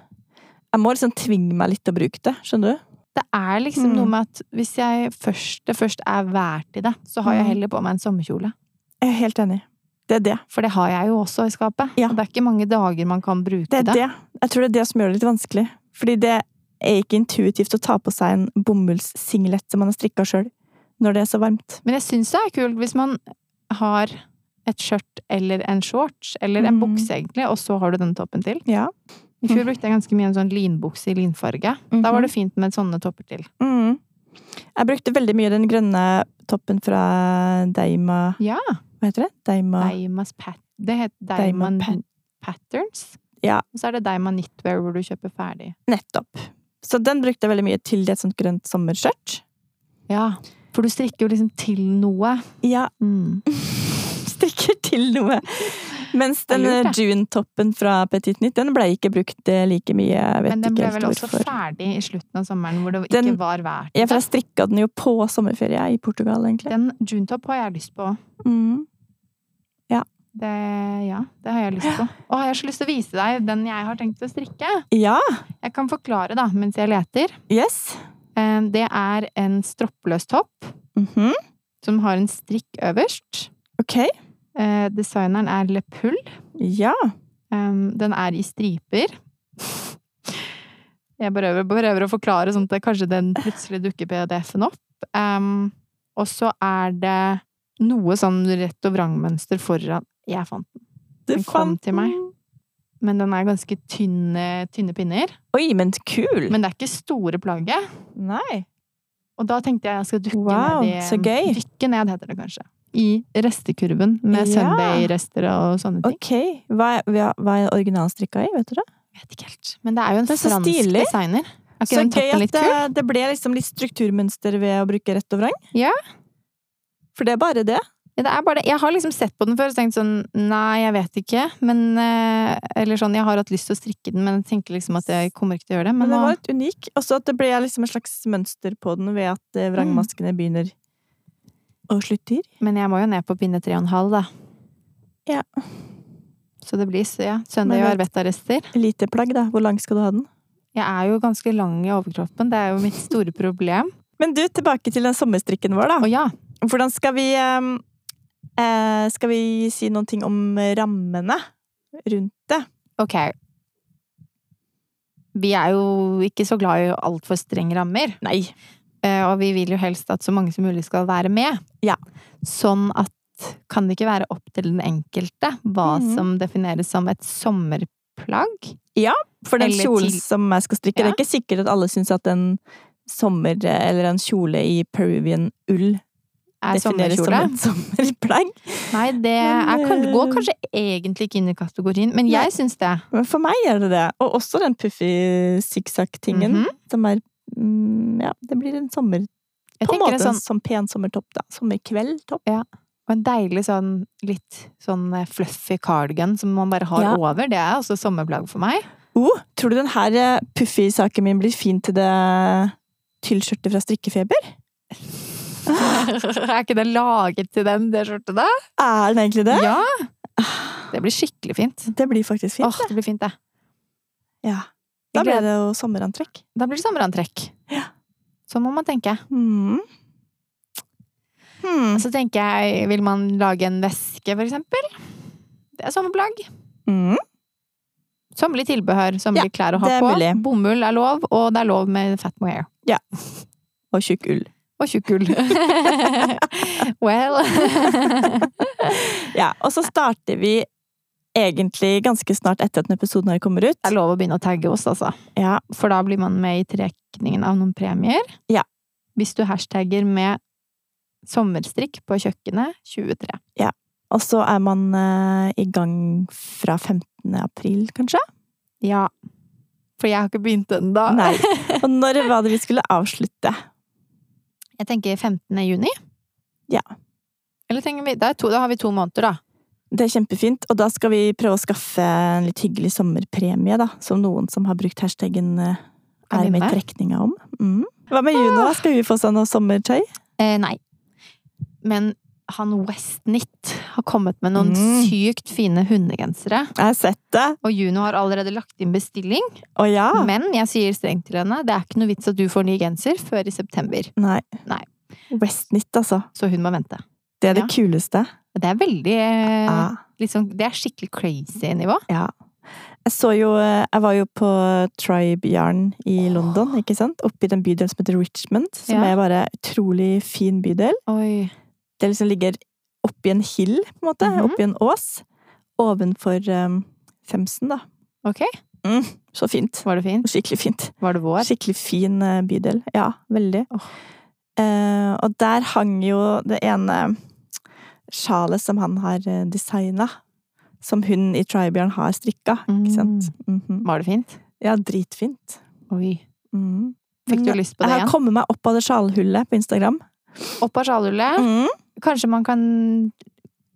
S1: jeg må liksom tvinge meg litt til å bruke det, skjønner du?
S2: Det er liksom
S1: Mhm.
S2: noe med at hvis jeg først, det først er vær til det, så har jeg
S1: Mhm.
S2: heller på meg en sommerkjole.
S1: Jeg er helt enig. Det er det.
S2: For det har jeg jo også i skapet.
S1: Ja.
S2: Og det er ikke mange dager man kan bruke
S1: Det
S2: det.
S1: er det. Jeg tror det er det som gjør det litt vanskelig. Fordi det er ikke intuitivt å ta på seg en bomullssinglett som man har strikka sjøl, når det er så varmt.
S2: Men jeg syns det er kult hvis man har et skjørt eller en shorts, eller en
S1: Mhm.
S2: bukse egentlig, og så har du den toppen til.
S1: Ja.
S2: I
S1: Mm.
S2: fjor brukte jeg ganske mye en sånn linbukse i linfarge. Da var det fint med sånne topper til.
S1: Mhm. Jeg brukte veldig mye den grønne toppen fra Deima
S2: Ja.
S1: Hva heter det? Deima
S2: Daimas pat det heter Daima
S1: Daima pat-
S2: Patterns.
S1: Ja.
S2: Og så er det Daima Knitwear hvor du kjøper ferdig.
S1: Nettopp. Så den brukte jeg veldig mye til et sånt grønt sommerskjørt.
S2: Ja. For du strikker jo liksom til noe.
S1: Ja,
S2: Mm.
S1: strikker til noe. Mens
S2: Det er
S1: den eh,
S2: lurt, det.
S1: June-toppen fra Petit Nytt, den ble ikke brukt eh, like mye. Jeg vet
S2: Men den
S1: ikke
S2: ble
S1: helt
S2: vel også
S1: hvorfor.
S2: ferdig i slutten av sommeren hvor det
S1: Den-
S2: ikke var vær.
S1: Ja, for jeg strikka den jo på sommerferie i Portugal, egentlig.
S2: Den junetop har jeg lyst på.
S1: Mm.
S2: Det, ja, det har jeg lyst på. Og jeg har så lyst til å vise deg den jeg har tenkt å strikke.
S1: Ja,
S2: Jeg kan forklare da, mens jeg leter.
S1: yes.
S2: Eh, Det er en stroppløs topp
S1: Mhm.
S2: som har en strikk øverst.
S1: Ok.
S2: Eh, Designeren er Le Pull.
S1: Ja.
S2: Um, den er i striper. Jeg prøver, prøver å forklare sånn at det, kanskje den plutselig dukker PDF-en opp. Um, og så er det noe sånn rett og vrangmønster foran. Jeg fant den.
S1: Du
S2: Den kom
S1: fant
S2: til meg.
S1: den.
S2: Men den er ganske tynne, tynne pinner.
S1: Oi, men kul!
S2: Men det er ikke store plagget.
S1: Nei.
S2: Og da tenkte jeg jeg skal dukke
S1: Wow,
S2: ned i
S1: så gøy.
S2: Dykke ned, heter det kanskje. I restekurven med
S1: Ja.
S2: Sunday-rester og sånne ting.
S1: Ok. Hva er, hva- hva er originalstrikka i, vet du det?
S2: Vet ikke helt. Men det er jo en
S1: Det er så
S2: fransk
S1: stilig.
S2: designer. Er ikke
S1: Så
S2: den
S1: gøy
S2: toppen
S1: at
S2: litt
S1: det,
S2: kul?
S1: det ble liksom litt strukturmønster ved å bruke rett og vrang.
S2: Ja.
S1: For det er bare det.
S2: Ja, det er bare det. Jeg har liksom sett på den før og tenkt sånn Nei, jeg vet ikke. Men eh, Eller sånn, jeg har hatt lyst til å strikke den, men jeg tenker liksom at jeg kommer ikke til å gjøre det.
S1: Men
S2: Men
S1: den
S2: nå
S1: var litt unik. Og så at det ble liksom et slags mønster på den ved at eh, vrangmaskene begynner og slutter.
S2: Men jeg må jo ned på pinne tre og en halv, da.
S1: Ja.
S2: Så det blir så, ja. Søndag
S1: Men
S2: og
S1: vet-
S2: Arvetta-rester.
S1: Lite plagg, da. Hvor lang skal du ha den?
S2: Jeg er jo ganske lang i overkroppen, det er jo mitt store problem.
S1: Men du, tilbake til den sommerstrikken vår,
S2: Å
S1: da.
S2: ja.
S1: Hvordan skal vi ehm, eh, Skal vi si noen ting om rammene rundt det?
S2: Ok. Vi er jo ikke så glad i altfor strenge rammer.
S1: Nei.
S2: Eh, Og vi vil jo helst at så mange som mulig skal være med.
S1: Ja.
S2: Sånn at kan det ikke være opp til den enkelte hva
S1: Mhm.
S2: som defineres som et sommerplagg?
S1: For den
S2: Eller
S1: kjolen
S2: til-
S1: som jeg skal strikke, det er ikke sikkert at alle syns at en sommer eller en kjole i peruvian ull
S2: Er
S1: defineres som
S2: sommerkjole?
S1: et sommerplagg.
S2: Nei, det
S1: Men,
S2: er, kan- går
S1: eh,
S2: kanskje egentlig ikke inn i kategorien, men
S1: Nei.
S2: jeg syns det.
S1: Men for meg er det det. Og også den puffy sikksakk-tingen
S2: Mhm.
S1: som er mm, Ja, det blir en sommer
S2: Jeg
S1: På en
S2: tenker
S1: måte
S2: en
S1: en
S2: sånn,
S1: sånn pen sommertopp, da. Sommerkveldtopp.
S2: og en deilig sånn litt sånn eh, fluffy cardigan som man bare har
S1: Ja.
S2: over. Det er også sommerplagg for meg.
S1: Oh, tror du den her eh, puffy-saken min blir fin til det tyllskjørtet fra Strikkefeber?
S2: er ikke det laget til den, det skjørtet da?
S1: Er den egentlig det?
S2: Ja! Det blir skikkelig fint.
S1: Det blir faktisk fint.
S2: Mm. Åh, det blir fint, det.
S1: Ja. Da
S2: Jeg
S1: ble
S2: gleder-
S1: det jo sommerantrekk.
S2: Da blir det sommerantrekk.
S1: Ja.
S2: Så må man tenke.
S1: Mm. Hmm.
S2: Så tenker jeg, vil man lage en veske, for eksempel? Det er sommerplagg.
S1: Mm.
S2: Sommerlig tilbehør, sommerlige klær å ha
S1: det er
S2: på.
S1: mulig.
S2: Bomull er lov, og det er lov med fat mohair.
S1: Og tjukk ull.
S2: Og tjukk ull. well
S1: Ja, og så starter vi egentlig ganske snart etter at denne episoden her kommer
S2: Det er
S1: ut.
S2: lov å begynne å tagge oss, altså.
S1: Ja,
S2: For da blir man med i trekningen av noen premier.
S1: Ja.
S2: Hvis du hashtagger med 'sommerstrikk på kjøkkenet 23'.
S1: og så er man eh, i gang fra 15. april, kanskje?
S2: Ja. For jeg har ikke begynt ennå.
S1: Nei. Og når var det vi skulle avslutte?
S2: Jeg tenker 15. juni.
S1: Ja.
S2: Eller tenker vi, da, er to, da har vi to måneder, da.
S1: Det er kjempefint, og da skal vi prøve å skaffe en litt hyggelig sommerpremie, da. Som noen som har brukt hashtaggen eh, er med i trekninga om. Mm. Hva med Juno, da? Skal hun få seg noe sommertøy?
S2: Eh, nei. Men han Westnit har kommet med noen
S1: Mm.
S2: sykt fine hundegensere.
S1: Jeg har sett det.
S2: Og Juno har allerede lagt inn bestilling.
S1: Å ja.
S2: Men jeg sier strengt til henne det er ikke noe vits at du får ny genser før i september.
S1: Nei.
S2: Nei.
S1: Westnit, altså.
S2: Så hun må vente.
S1: Det er det
S2: Ja.
S1: kuleste. Ah.
S2: Det er veldig eh,
S1: Ja.
S2: liksom, Det er skikkelig crazy nivå.
S1: Jeg så jo eh, Jeg var jo på Tribe Yarn i London, ikke sant? Oppe i den bydelen som heter Richmond, som
S2: Ja.
S1: er bare utrolig fin bydel.
S2: Oi.
S1: Det liksom ligger oppi en hill, på en måte.
S2: Mhm.
S1: Oppi en ås. Ovenfor um, Themsen, da.
S2: Ok.
S1: Mm, så fint.
S2: Var det fint?
S1: Skikkelig fint.
S2: Var det vår?
S1: Skikkelig fin eh, bydel. Ja, veldig.
S2: Åh.
S1: Eh, og der hang jo det ene sjalet som han har designa, som hun i Tribe Yarn har strikka, ikke
S2: Mm.
S1: sant? Mhm.
S2: Var det fint?
S1: Ja, dritfint.
S2: Oi.
S1: Mm.
S2: Fikk du
S1: Men
S2: lyst på
S1: Jeg
S2: det
S1: har
S2: igjen?
S1: kommet meg opp av det sjalhullet på Instagram.
S2: Opp av sjalhullet.
S1: Mm.
S2: Kanskje man kan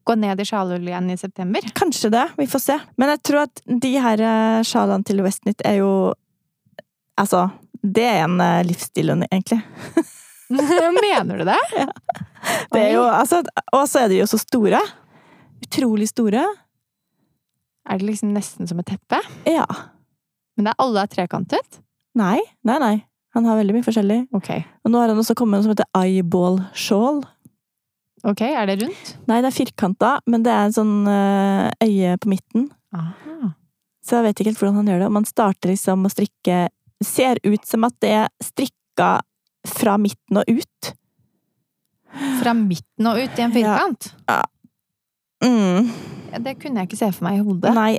S2: gå ned i sjalhullet igjen i september?
S1: Kanskje det. Vi får se. Men jeg tror at de her eh, sjalene til Westnit er jo Altså, det er en eh, livsstil, egentlig.
S2: Mener du det?
S1: Det er jo,
S2: Oi.
S1: altså, og så er de jo så store. Utrolig store.
S2: Er det liksom nesten som et teppe?
S1: Ja.
S2: Men det er alle er trekantet?
S1: Nei, nei, nei. Han har veldig mye forskjellig.
S2: Ok.
S1: Og nå har han også kommet med noe som heter eyeball shawl.
S2: Ok, er det rundt?
S1: Nei, det er firkanta, men det er en sånn eh, øye på midten.
S2: Aha.
S1: Så jeg vet ikke helt hvordan han gjør det. Om han starter liksom å strikke Ser ut som at det er strikka fra midten og ut.
S2: Fra midten og ut i en firkant?
S1: Mm.
S2: Det kunne jeg ikke se for meg i hodet.
S1: Nei,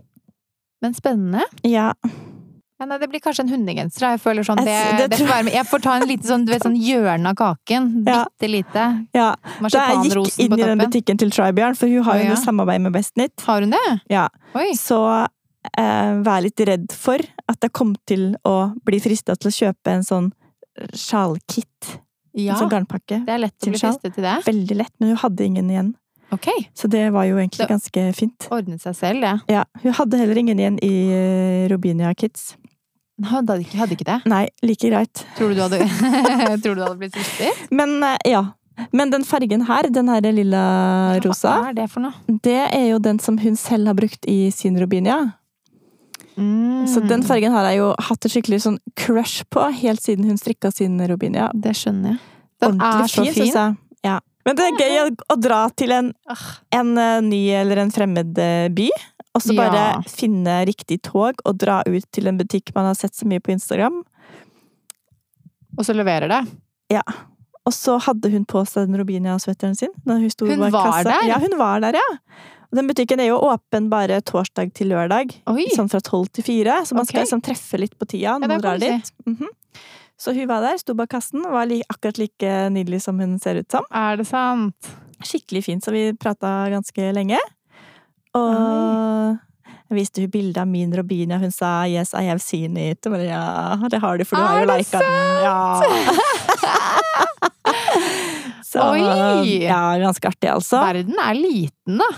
S2: Men spennende.
S1: ja.
S2: Ja, nei, det blir kanskje en hundegenser. da. Jeg føler
S1: Jeg
S2: sånn, det,
S1: s- det
S2: det får
S1: tror-
S2: være med. Jeg får ta en liten sånn, du vet, sånn hjørne av kaken.
S1: Ja.
S2: Bitte lite.
S1: Ja, da jeg gikk
S2: Marsipanrosen
S1: inn
S2: på
S1: i den
S2: toppen.
S1: butikken til Trybjørn, for hun har
S2: Å,
S1: jo
S2: ja.
S1: noe samarbeid med Bestnytt,
S2: Har hun det?
S1: Ja.
S2: Oi.
S1: så eh, vær litt redd for at jeg kom til å bli frista til å kjøpe en sånn sjalkit.
S2: Ja.
S1: En sånn garnpakke.
S2: Det er lett å
S1: til
S2: bli
S1: sjal.
S2: festet til det.
S1: Veldig lett, men hun hadde ingen igjen.
S2: Ok.
S1: Så det var jo egentlig
S2: Det-
S1: ganske fint.
S2: Ordnet seg selv, det.
S1: Ja, Hun hadde heller ingen igjen i eh, Robinia Kids.
S2: Hun hadde ikke, hadde ikke det.
S1: Nei, like greit.
S2: Tror du du hadde, tror du du hadde blitt sviktet?
S1: Men eh, ja. Men den fargen her, den her lilla rosa,
S2: Hva er det for noe?
S1: det er jo den som hun selv har brukt i sin Robinia.
S2: Mm.
S1: Så den fargen har jeg jo hatt et skikkelig sånn crush på helt siden hun strikka sin Robinia.
S2: Det skjønner jeg. Den er så
S1: Ordentlig
S2: fin.
S1: synes jeg. Ja. Men det er gøy å, å dra til en,
S2: Ah.
S1: en eh, ny eller en fremmed eh, by, og så bare
S2: Ja.
S1: finne riktig tog og dra ut til en butikk man har sett så mye på Instagram.
S2: Og så leverer det.
S1: Og så hadde hun på seg den Robinia-svetteren sin. Når hun sto
S2: Hun
S1: bak
S2: var
S1: kassa.
S2: der?
S1: Ja, hun var der, ja. Og den butikken er jo åpen bare torsdag til lørdag.
S2: Oi!
S1: Sånn fra tolv til fire. Så man skal
S2: Ok.
S1: liksom treffe litt på tida
S2: Ja,
S1: når man
S2: det kan
S1: drar
S2: du si.
S1: dit. Mhm. Så hun var der, sto bak kassen, var li akkurat like nydelig som hun ser ut som.
S2: Er det sant?
S1: Skikkelig fint, så vi prata ganske lenge. Og jeg viste hun bilde av min Robinia. Hun sa 'yes, I have seen it'. Og bare, ja, det har du, for du har jo
S2: Er det
S1: lika den. Ja. så
S2: Oi!
S1: ja, ganske artig, altså.
S2: Verden er liten, da.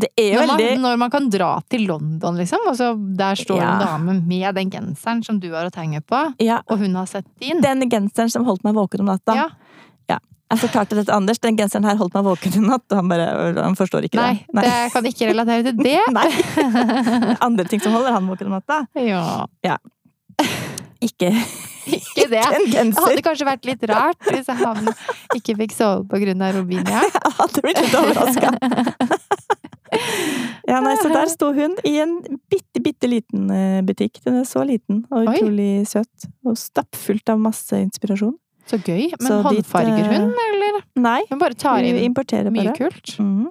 S1: Det er jo
S2: Når man,
S1: veldig
S2: når man kan dra til London, liksom, og så der står det en
S1: Ja.
S2: dame med den genseren som du har å tegne på,
S1: ja,
S2: og hun har sett din.
S1: Den genseren som holdt meg våken om natta.
S2: Ja.
S1: Jeg fortalte det til Anders. Den genseren her holdt meg våken i natt. Og han bare han forstår ikke
S2: Nei,
S1: det.
S2: det kan ikke relatere til det.
S1: Nei. Andre ting som holder han våken om natta.
S2: Ja,
S1: Ikke
S2: ikke det.
S1: en
S2: Det
S1: genser.
S2: hadde kanskje vært litt rart hvis han ikke fikk sove på grunn av Robinia.
S1: Jeg hadde blitt litt overraska. Ja, nei, så der sto hun i en bitte, bitte liten eh, butikk. Den er så liten og
S2: Oi.
S1: utrolig søt. Og stappfullt av masse inspirasjon.
S2: Så gøy. Men
S1: Så dit,
S2: håndfarger hun, eller?
S1: Nei,
S2: Hun bare tar
S1: hun
S2: inn
S1: importerer
S2: mye
S1: bare.
S2: kult.
S1: Mhm.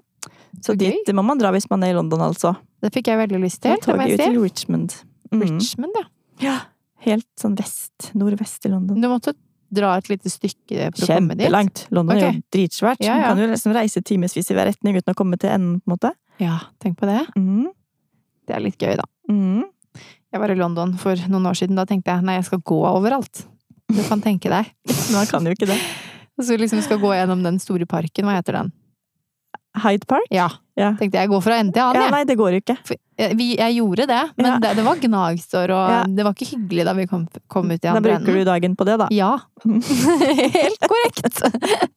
S1: Så
S2: Så gøy.
S1: dit må man dra hvis man er i London, altså.
S2: Det fikk jeg veldig lyst
S1: Det
S2: til.
S1: er
S2: det må
S1: toget
S2: jeg
S1: ut
S2: si.
S1: til Richmond. Mhm.
S2: Richmond, ja.
S1: Helt sånn vest, nordvest i London.
S2: Du måtte dra et lite stykke for å Mm. komme dit.
S1: Kjempelangt. London er jo
S2: Ok.
S1: dritsvært.
S2: Ja, ja.
S1: Man kan jo liksom reise timevis i hver retning uten å komme til enden, på en måte.
S2: Ja, tenk på det.
S1: Mhm.
S2: Det er litt gøy, da.
S1: Mhm.
S2: Jeg var i London for noen år siden. Da tenkte jeg nei, jeg skal gå overalt. Du kan tenke deg.
S1: Men man kan jo ikke det.
S2: Og så liksom skal gå gjennom den store parken. Hva heter den?
S1: Hyde Park?
S2: Ja.
S1: Ja.
S2: Tenkte jeg går fra ende til
S1: Ja,
S2: annen, jeg.
S1: nei, det går jo ikke.
S2: Jeg- Vi, jeg gjorde det, men
S1: Ja.
S2: det, det var gnagsår, og
S1: Ja.
S2: det var ikke hyggelig da vi kom, kom ut i
S1: Da
S2: andre
S1: bruker du
S2: enden.
S1: dagen på det, da.
S2: Ja. Helt korrekt!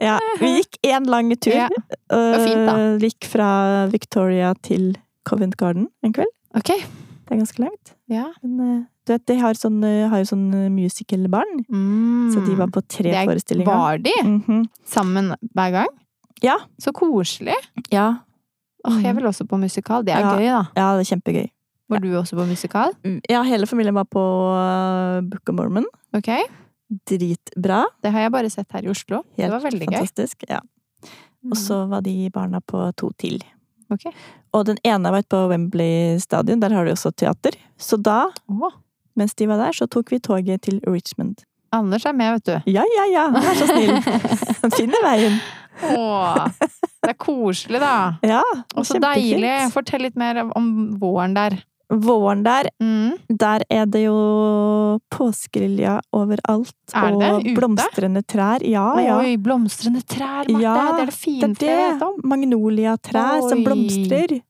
S1: Ja, vi gikk én lang tur.
S2: Ja, var fint, da.
S1: Øh, Gikk fra Victoria til Covent Garden en kveld.
S2: Ok.
S1: Det er ganske langt.
S2: Ja.
S1: Men øh, du vet, de har, sånn, øh, har jo sånn øh, musicalbarn,
S2: Mm.
S1: så de var på tre
S2: Det er-
S1: forestillinger.
S2: Var de
S1: Mhm.
S2: sammen hver gang?
S1: Ja.
S2: Så koselig.
S1: ja.
S2: Åh,
S1: Mhm.
S2: jeg vil også på musikal. Det er
S1: Ja.
S2: gøy, da.
S1: ja, det er kjempegøy.
S2: Var du også på musikal?
S1: Ja, hele familien var på øh, Book of Mormon.
S2: Ok.
S1: Dritbra.
S2: Det har jeg bare sett her i Oslo.
S1: Helt
S2: det var veldig gøy. Mm.
S1: fantastisk. Ja. Og så var de barna på to til.
S2: Ok.
S1: Og den ene var ute på Wembley stadion, der har de også teater. Så da,
S2: Åh,
S1: mens de var der, så tok vi toget til Richmond.
S2: Anders er med, vet du.
S1: Ja, ja, ja, han er så snill. Han finner veien.
S2: Åh, det er koselig, da.
S1: Ja,
S2: Og så
S1: kjempefint.
S2: deilig. Fortell litt mer om våren der.
S1: Våren der,
S2: Mm.
S1: der er det jo påskelilja overalt.
S2: Er det
S1: og
S2: det? Ute?
S1: blomstrende trær. Ja, Ah, ja.
S2: Oi, blomstrende trær, Marte!
S1: Ja,
S2: det er det
S1: Det
S2: fineste jeg
S1: er
S2: vet
S1: det.
S2: om.
S1: Magnoliatrær som
S2: Oi.
S1: blomstrer.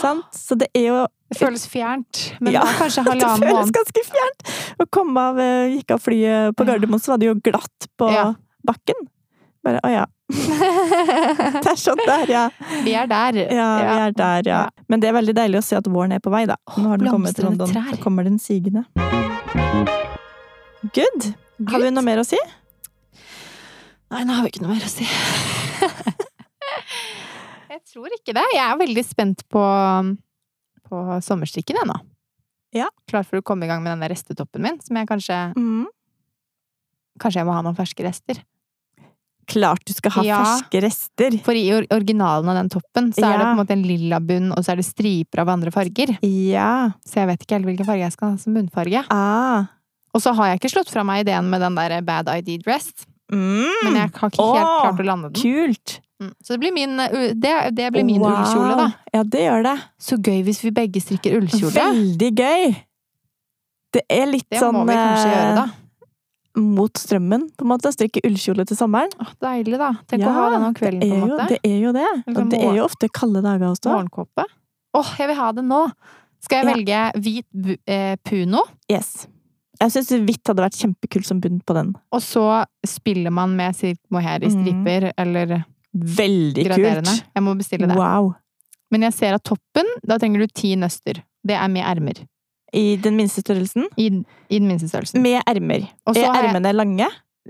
S1: Sant? Så det er jo
S2: Det føles fjernt, men
S1: Ja,
S2: det er kanskje
S1: Det
S2: halvannen
S1: føles
S2: måned.
S1: ganske fjernt! Å komme av eh, Gikk av flyet på
S2: Ja.
S1: Gardermoen, så var det jo glatt på
S2: Ja.
S1: bakken. Bare å ja. Det er sånn der, ja.
S2: Vi er der.
S1: Ja, vi er der, ja.
S2: Ja.
S1: Men det er veldig deilig å se at våren er på vei, da. Nå har den kommet til
S2: blomstrende
S1: London.
S2: trær.
S1: Så kommer den sigende. Good! Har vi
S2: Gud.
S1: noe mer å si?
S2: Nei, nå har vi ikke noe mer å si. jeg tror ikke det. Jeg er veldig spent på, på sommerstikken ennå.
S1: Ja.
S2: Klar for å komme i gang med denne restetoppen min, som jeg kanskje
S1: Mm.
S2: Kanskje jeg må ha noen ferske rester.
S1: klart du skal ha
S2: Ja.
S1: ferske rester.
S2: For i or- originalen av den toppen så er det
S1: Ja.
S2: på en måte en lilla bunn, og så er det striper av andre farger.
S1: Ja.
S2: Så jeg vet ikke helt hvilken farge jeg skal ha som bunnfarge.
S1: Ah.
S2: Og så har jeg ikke slått fra meg ideen med den der bad ID-dress, men
S1: Mm.
S2: jeg har ikke helt
S1: Åh,
S2: klart å lande den.
S1: Kult!
S2: Mm. Så det blir min, uh, u- det, det blir min
S1: Wow.
S2: ullkjole, da.
S1: Ja, det gjør det.
S2: Så gøy hvis vi begge strikker ullkjole.
S1: Veldig gøy! Det er litt
S2: Det
S1: sånn
S2: må vi kanskje gjøre, da.
S1: eh, mot strømmen, på en måte. Strikke ullkjole til sommeren.
S2: Åh, deilig, da. Tenk
S1: Ja,
S2: å ha den om kvelden,
S1: Det
S2: på
S1: er,
S2: en
S1: jo,
S2: måte.
S1: det er jo det.
S2: Eller
S1: Og det er
S2: morgen-
S1: jo ofte kalde dager også.
S2: Morgenkåpe. Åh, jeg vil ha den nå! Skal jeg velge hvit bu- eh, puno,
S1: Yes. Jeg syns hvitt hadde vært kjempekult som bunn på den.
S2: og så spiller man med silk mohair i
S1: Mm.
S2: striper, eller
S1: Veldig
S2: graderende.
S1: kult!
S2: Jeg må bestille det.
S1: Wow.
S2: Men jeg ser at toppen, da trenger du ti nøster. Det er med ermer.
S1: I den minste størrelsen.
S2: I, i den minste størrelsen.
S1: Med ermer.
S2: Og så
S1: Er
S2: har jeg
S1: ermene lange?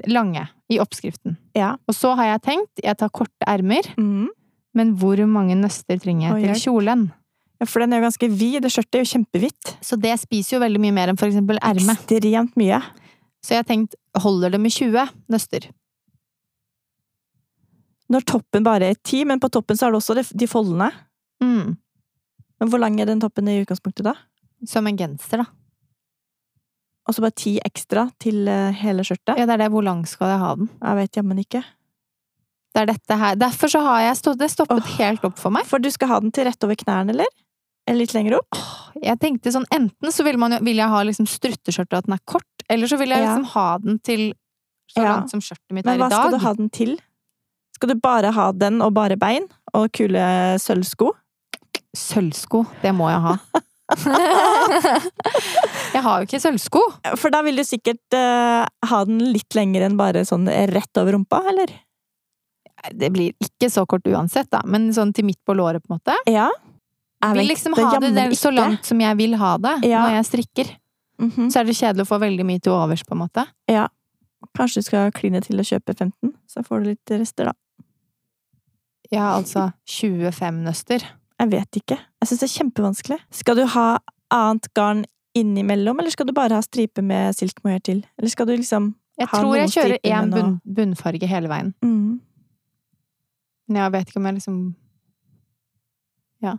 S2: lange i oppskriften.
S1: Ja.
S2: Og så har jeg tenkt, jeg tar korte ermer,
S1: Mm.
S2: men hvor mange nøster trenger
S1: Oi,
S2: jeg til kjolen?
S1: Ja, for den er jo ganske vid. Det skjørtet er jo kjempehvitt.
S2: Så det spiser jo veldig mye mer enn for eksempel erme.
S1: Ekstremt mye.
S2: Så jeg har tenkt, holder det med 20 nøster?
S1: Når toppen bare er ti, men på toppen så er det også de- de foldene.
S2: Mm.
S1: Men hvor lang er den toppen i utgangspunktet, da?
S2: Som en genser, da.
S1: Og så bare ti ekstra til eh, hele skjørtet?
S2: Ja, det er det. Hvor lang skal jeg ha den?
S1: Jeg vet jammen ikke.
S2: Det er dette her. Derfor så har jeg stå, det stoppet
S1: Åh.
S2: helt opp for meg.
S1: For du skal ha den til rett over knærne, eller? Eller litt lenger opp?
S2: Jeg tenkte sånn, enten så vil, man jo, vil jeg ha liksom strutteskjørtet og at den er kort, eller så vil jeg
S1: Ja.
S2: liksom ha den til så
S1: Ja.
S2: langt som skjørtet mitt
S1: Men
S2: er i
S1: hva
S2: dag.
S1: skal du ha den til? Skal du bare ha den og bare bein? Og kule sølvsko?
S2: Sølvsko, det må jeg ha. jeg har jo ikke sølvsko.
S1: For da vil du sikkert eh, ha den litt lenger enn bare sånn rett over rumpa, eller?
S2: Det blir ikke så kort uansett, da, men sånn til midt på låret, på en måte.
S1: Ja. Jeg
S2: Vil
S1: vet
S2: liksom ha
S1: jammen
S2: det, der så
S1: ikke.
S2: langt som jeg vil ha det
S1: Ja.
S2: når jeg strikker.
S1: Mhm.
S2: Så er det kjedelig å få veldig mye til overs, på en måte.
S1: Kanskje du skal kline til å kjøpe 15, så får du litt rester, da.
S2: Jeg har altså 25 nøster.
S1: Jeg vet ikke. Jeg syns det er kjempevanskelig. Skal du ha annet garn innimellom, eller skal du bare ha stripe med silk mohair til? Eller skal du liksom
S2: Jeg
S1: Har
S2: tror jeg
S1: noen
S2: kjører
S1: striper,
S2: én
S1: men
S2: bunn, bunnfarge hele veien.
S1: mm.
S2: Men jeg vet ikke om jeg liksom Ja.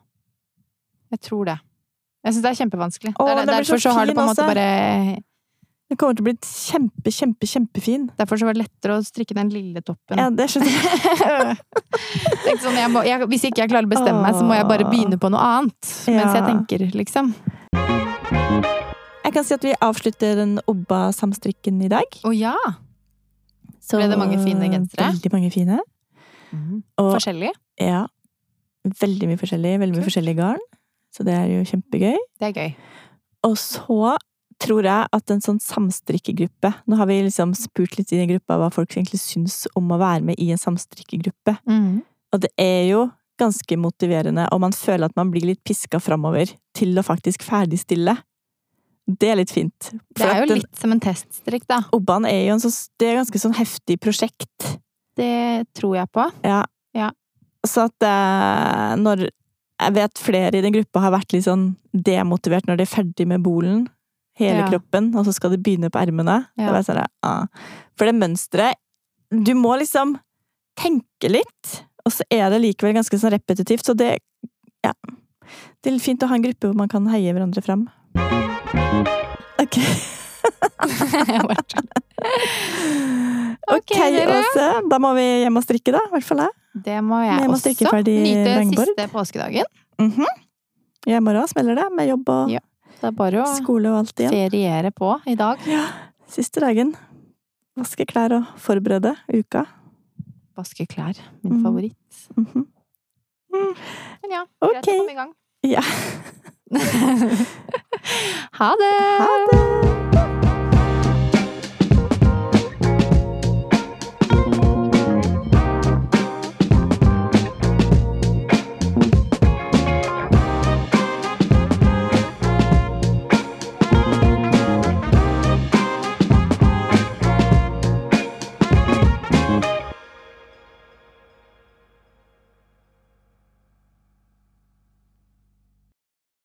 S2: Jeg tror det. Jeg syns det er kjempevanskelig.
S1: Åh,
S2: Det er-
S1: den blir så
S2: derfor så har det på en
S1: fin
S2: måte
S1: også.
S2: bare
S1: Den kommer til å bli kjempe, kjempe, kjempefin.
S2: Derfor så var det lettere å strikke den lille toppen.
S1: Ja, det skjønner jeg.
S2: Tenkte sånn, jeg må, jeg, hvis ikke jeg klarer å bestemme meg, så må jeg bare
S1: Åh.
S2: begynne på noe annet. Mens jeg
S1: Ja.
S2: tenker, liksom.
S1: Jeg kan si at vi avslutter den Obba-samstrikken i dag.
S2: Å ja!
S1: Så,
S2: Ble det mange fine gensere?
S1: Veldig mange fine. Og
S2: Forskjellig.
S1: ja, veldig mye forskjellig. Veldig mye
S2: Kult.
S1: forskjellig garn. Så det er jo kjempegøy.
S2: Det er gøy.
S1: Og så tror jeg at en sånn samstrikkegruppe Nå har vi liksom spurt litt i den gruppa hva folk egentlig syns om å være med i en samstrikkegruppe.
S2: Mm.
S1: Og det er jo ganske motiverende, og man føler at man blir litt piska framover til å faktisk ferdigstille. Det er litt fint.
S2: Det er
S1: at
S2: jo
S1: den
S2: litt som en teststrikk, da.
S1: Obban er jo en sånn, det er et ganske sånn heftig prosjekt.
S2: Det tror jeg på.
S1: Så at eh, når Jeg vet flere i den gruppa har vært litt sånn demotivert når de er ferdig med bolen. Hele
S2: Ja.
S1: kroppen, og så skal de begynne på ermene.
S2: Ja.
S1: Da var jeg sånn, ah. For det mønsteret Du må liksom tenke litt, og så er det likevel ganske sånn repetitivt. Så det Ja. Det er litt fint å ha en gruppe hvor man kan heie hverandre fram. Ok.
S2: Jeg bare tror-
S1: Ok,
S2: Ok, dere.
S1: Åse. Da må vi hjem og strikke, da. I hvert fall jeg.
S2: det må jeg
S1: Men jeg må
S2: også.
S1: strikke ferdig
S2: Nyte
S1: langbord.
S2: siste påskedagen.
S1: Mhm. Ja, I morgen smeller det, med jobb og
S2: Ja. Det er bare å
S1: skole og alt igjen.
S2: feriere på i dag.
S1: Siste dagen. Vaske klær og forberede uka.
S2: Vaske klær. Min
S1: Mm.
S2: favoritt.
S1: Mhm.
S2: Men ja, greit
S1: Ok.
S2: å komme i gang.
S1: Ja.
S2: Ha det!
S1: Ha det!